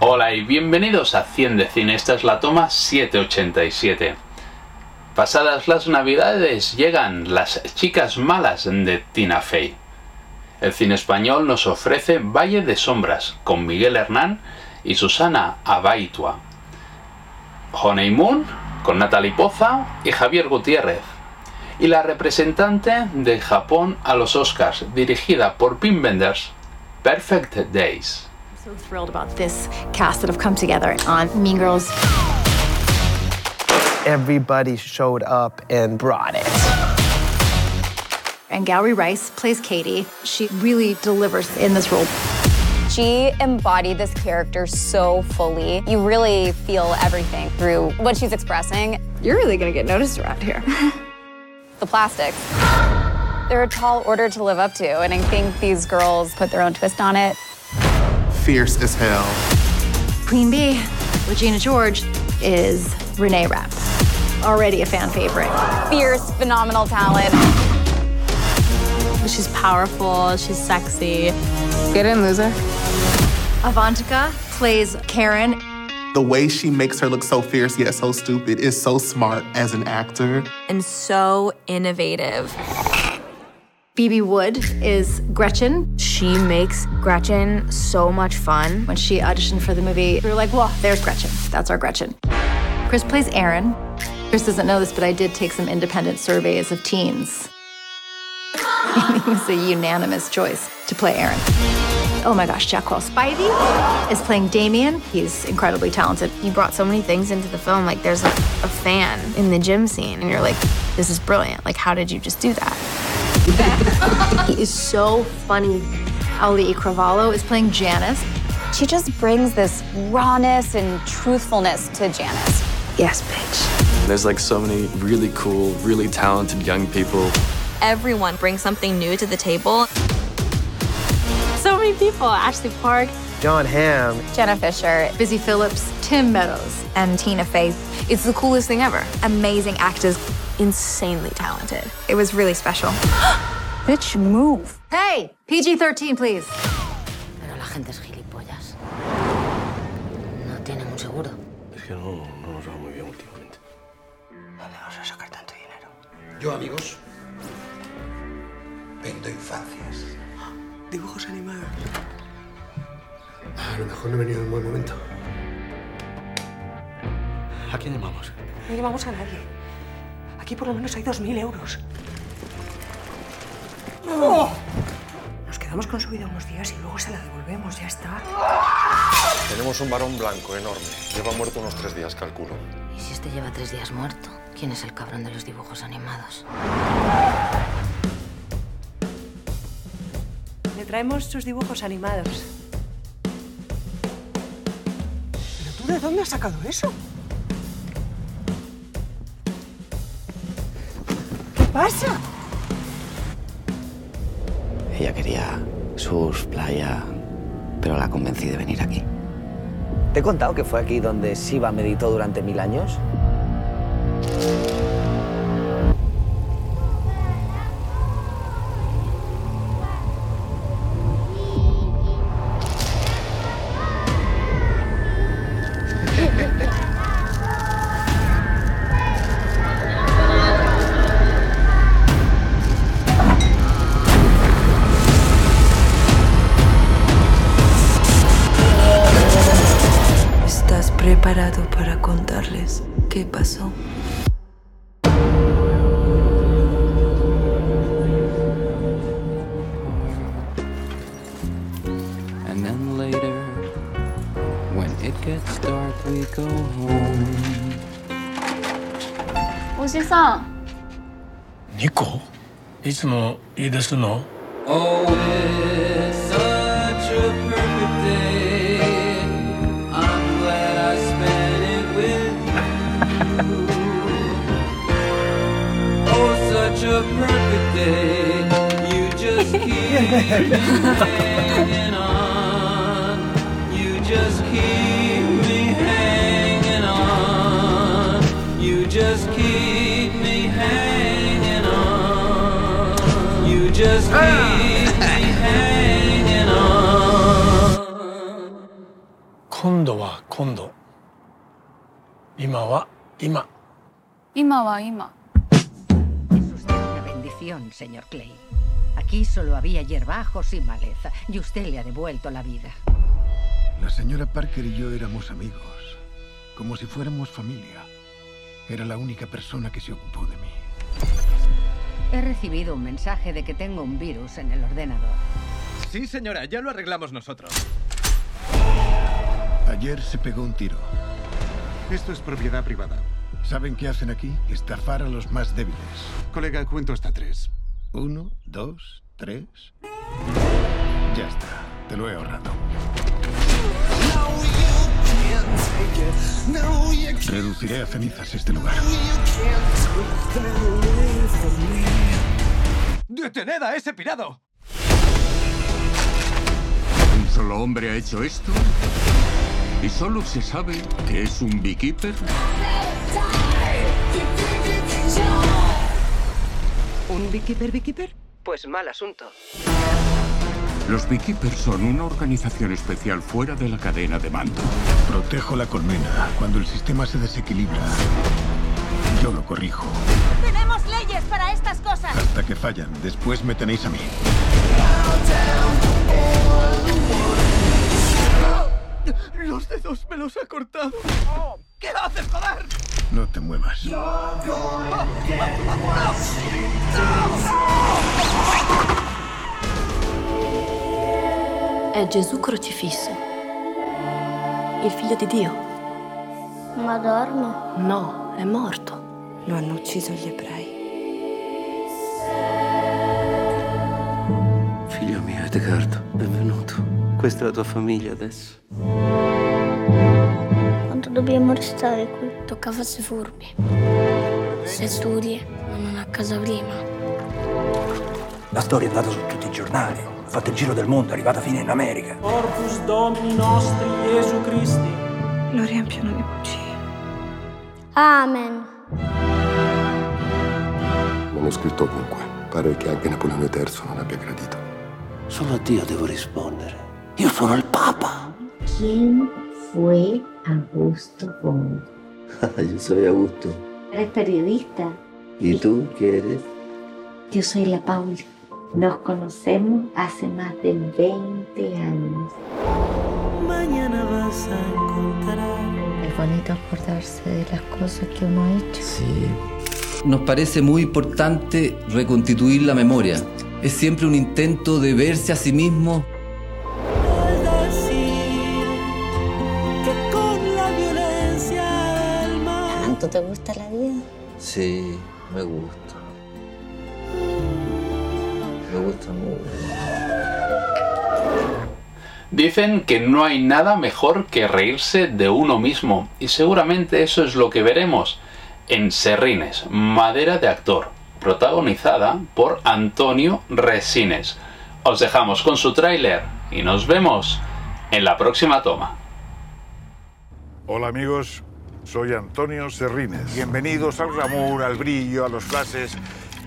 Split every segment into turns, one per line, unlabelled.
Hola y bienvenidos a 100 de Cine. Esta es la toma 787. Pasadas las navidades llegan las chicas malas de Tina Fey. El cine español nos ofrece Valle de Sombras con Miguel Hernán y Susana Abaitua. Honeymoon con Natalie Poza y Javier Gutiérrez. Y la representante de Japón a los Oscars, dirigida por Pim Benders, Perfect Days.
so thrilled about this cast that have come together on Mean Girls.
Everybody showed up and brought it.
And Gowrie Rice plays Katie. She really delivers in this role.
She embodied this character so fully. You really feel everything through what she's expressing.
You're really gonna get noticed around here.
The plastics. They're a tall order to live up to, and I think these girls put their own twist on it.
fierce as hell.
Queen Bee, Regina George, is Renee Rapp. Already a fan favorite.
Fierce, phenomenal talent.
She's powerful, she's sexy.
Get in, loser.
Avantika plays Karen.
The way she makes her look so fierce yet so stupid is so smart as an actor.
And so innovative.
Phoebe Wood is Gretchen.
She makes Gretchen so much fun.
When she auditioned for the movie, we were like, whoa, there's Gretchen. That's our Gretchen. Chris plays Aaron. Chris doesn't know this, but I did take some independent surveys of teens. it was a unanimous choice to play Aaron. Oh my gosh, Jackwell Spivey is playing Damien. He's incredibly talented.
You brought so many things into the film. Like, there's like a fan in the gym scene, and you're like, this is brilliant. Like, how did you just do that?
He is so funny. Ali Cravallo is playing Janice.
She just brings this rawness and truthfulness to Janice.
Yes, bitch.
There's like so many really cool, really talented young people.
Everyone brings something new to the table. So many people Ashley Park,
John Hamm,
Jenna Fisher.
Busy Phillips, Tim Meadows.
And Tina Fey. It's the coolest thing ever. Amazing actors.
Insanely talented. It was really special.
Bitch, move.
Hey, PG 13, please.
Pero la gente es gilipollas. No tienen un seguro.
Es que no, no nos va muy bien últimamente.
¿Dónde vas a sacar tanto dinero?
Yo, amigos, vendo infancias. Dibujos animados. A lo mejor no he venido en buen momento.
¿A quién llamamos?
No llevamos a nadie. Aquí por lo menos hay 2.000 euros. Nos quedamos con su vida unos días y luego se la devolvemos, ya está.
Tenemos un varón blanco enorme. Lleva muerto unos tres días, calculo.
¿Y si este lleva tres días muerto? ¿Quién es el cabrón de los dibujos animados? Le traemos sus dibujos animados. ¿Pero tú de dónde has sacado eso? ¿Qué pasa?
Ella quería sus playa, pero la convencí de venir aquí.
¿Te he contado que fue aquí donde Siva meditó durante mil años?
¿Estás preparado para contarles qué pasó?
And then later, when it gets dark, we go home.
牛さん。
ニコいつもいいですの
Oh, it's such a perfect day. I'm glad I spent it with you. Oh, such a perfect day. You just keep me hanging on. You just keep me hanging on. You just keep me hanging on. You just keep me hanging on.
今
今度は今度今は今
今は今
bendición, señor Clay. Aquí solo había hierbajos y maleza, y usted le ha devuelto la vida.
La señora Parker y yo éramos amigos, como si fuéramos familia. Era la única persona que se ocupó de mí.
He recibido un mensaje de que tengo un virus en el ordenador.
Sí, señora, ya lo arreglamos nosotros.
Ayer se pegó un tiro. Esto es propiedad privada. ¿Saben qué hacen aquí? Estafar a los más débiles.
Colega, cuento hasta tres.
Uno, dos, tres. Ya está. Te lo he ahorrado. Reduciré a cenizas este lugar.
¡Detened a ese pirado!
Un solo hombre ha hecho esto. Y solo se sabe que es un beekeeper.
¿Un beekeeper beekeeper? Pues mal asunto.
Los beekeepers son una organización especial fuera de la cadena de mando.
Protejo la colmena. Cuando el sistema se desequilibra, yo lo corrijo.
Tenemos leyes para estas cosas.
Hasta que fallan. Después me tenéis a mí.
Los dedos me los ha cortado. Oh, ¿Qué haces, joder?
No te muevas.
È Gesù crocifisso, il figlio di Dio.
Ma dorme?
No, è morto.
Lo hanno ucciso gli ebrei.
Figlio mio, Edgardo, benvenuto. Questa è la tua famiglia adesso.
Quanto dobbiamo restare qui? Tocca farsi furbi. Se studi, ma non a casa prima.
La storia è andata su tutti i giornali, ha fatto il giro del mondo, è arrivata fino in America.
Corpus Domini nostri Gesù Cristi.
Lo riempiono di bugie.
Amen.
L'hanno scritto ovunque. Pare che anche Napoleone III non abbia gradito.
Solo a Dio devo rispondere. Io sono il Papa.
¿Quién fue Augusto Bond?
Yo soy Augusto.
Eres periodista.
¿Y tú qué eres?
Yo soy la Paula. Nos conocemos hace más de 20 años.
Mañana vas a encontrar.
Es bonito acordarse de las cosas que uno ha hecho.
Sí. Nos parece muy importante reconstituir la memoria. Es siempre un intento de verse a sí mismo
¿Tanto te gusta la vida?
Sí, me gusta. Me gusta mucho.
Dicen que no hay nada mejor que reírse de uno mismo, y seguramente eso es lo que veremos en Serrines, Madera de Actor, protagonizada por Antonio Resines. Os dejamos con su tráiler y nos vemos en la próxima toma.
Hola amigos, Pues, soy Antonio Serrines. Bienvenidos al glamour, al brillo, a los flashes.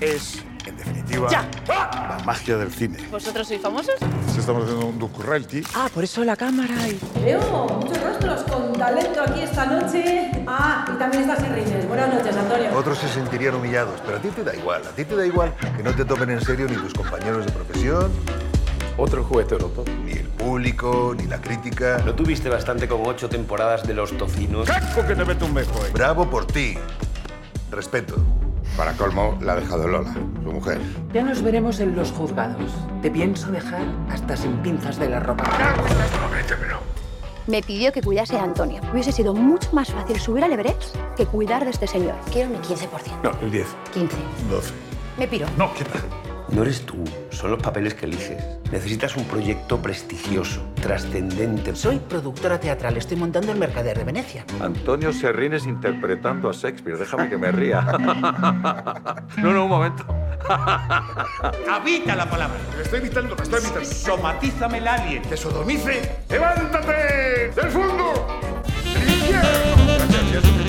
Es, en definitiva,
¡Ya!
la magia del cine.
¿Vosotros sois famosos?
Sí, Estamos haciendo un docu-reality.
Ah, por eso la cámara y...
Veo muchos rostros con talento aquí esta noche. Ah, y también está Serrines. Buenas noches, Antonio.
Otros se sentirían humillados, pero a ti te da igual. A ti te da igual que no te tomen en serio ni tus compañeros de profesión,
otro juguete roto.
Ni el público, ni la crítica.
¿No tuviste bastante con ocho temporadas de los tocinos?
¡Casco que te mete un mejo, eh! Bravo por ti. Respeto. Para colmo, la ha dejado Lola, su mujer.
Ya nos veremos en los juzgados. Te pienso dejar hasta sin pinzas de la ropa.
Me pidió que cuidase a Antonio. Hubiese sido mucho más fácil subir al Everest que cuidar de este señor.
Quiero mi 15%.
No, el 10.
15.
12.
Me piro.
No, ¿qué tal?
No eres tú, son los papeles que eliges. Necesitas un proyecto prestigioso, trascendente.
Soy productora teatral, estoy montando el Mercader de Venecia.
Antonio Serrines interpretando a Shakespeare, déjame que me ría. No, no, un momento.
Habita la palabra.
Te estoy evitando, te estoy evitando.
Somatízame el alien.
Te sodomice. ¡Levántate! ¡Del fondo! ¡Gracias!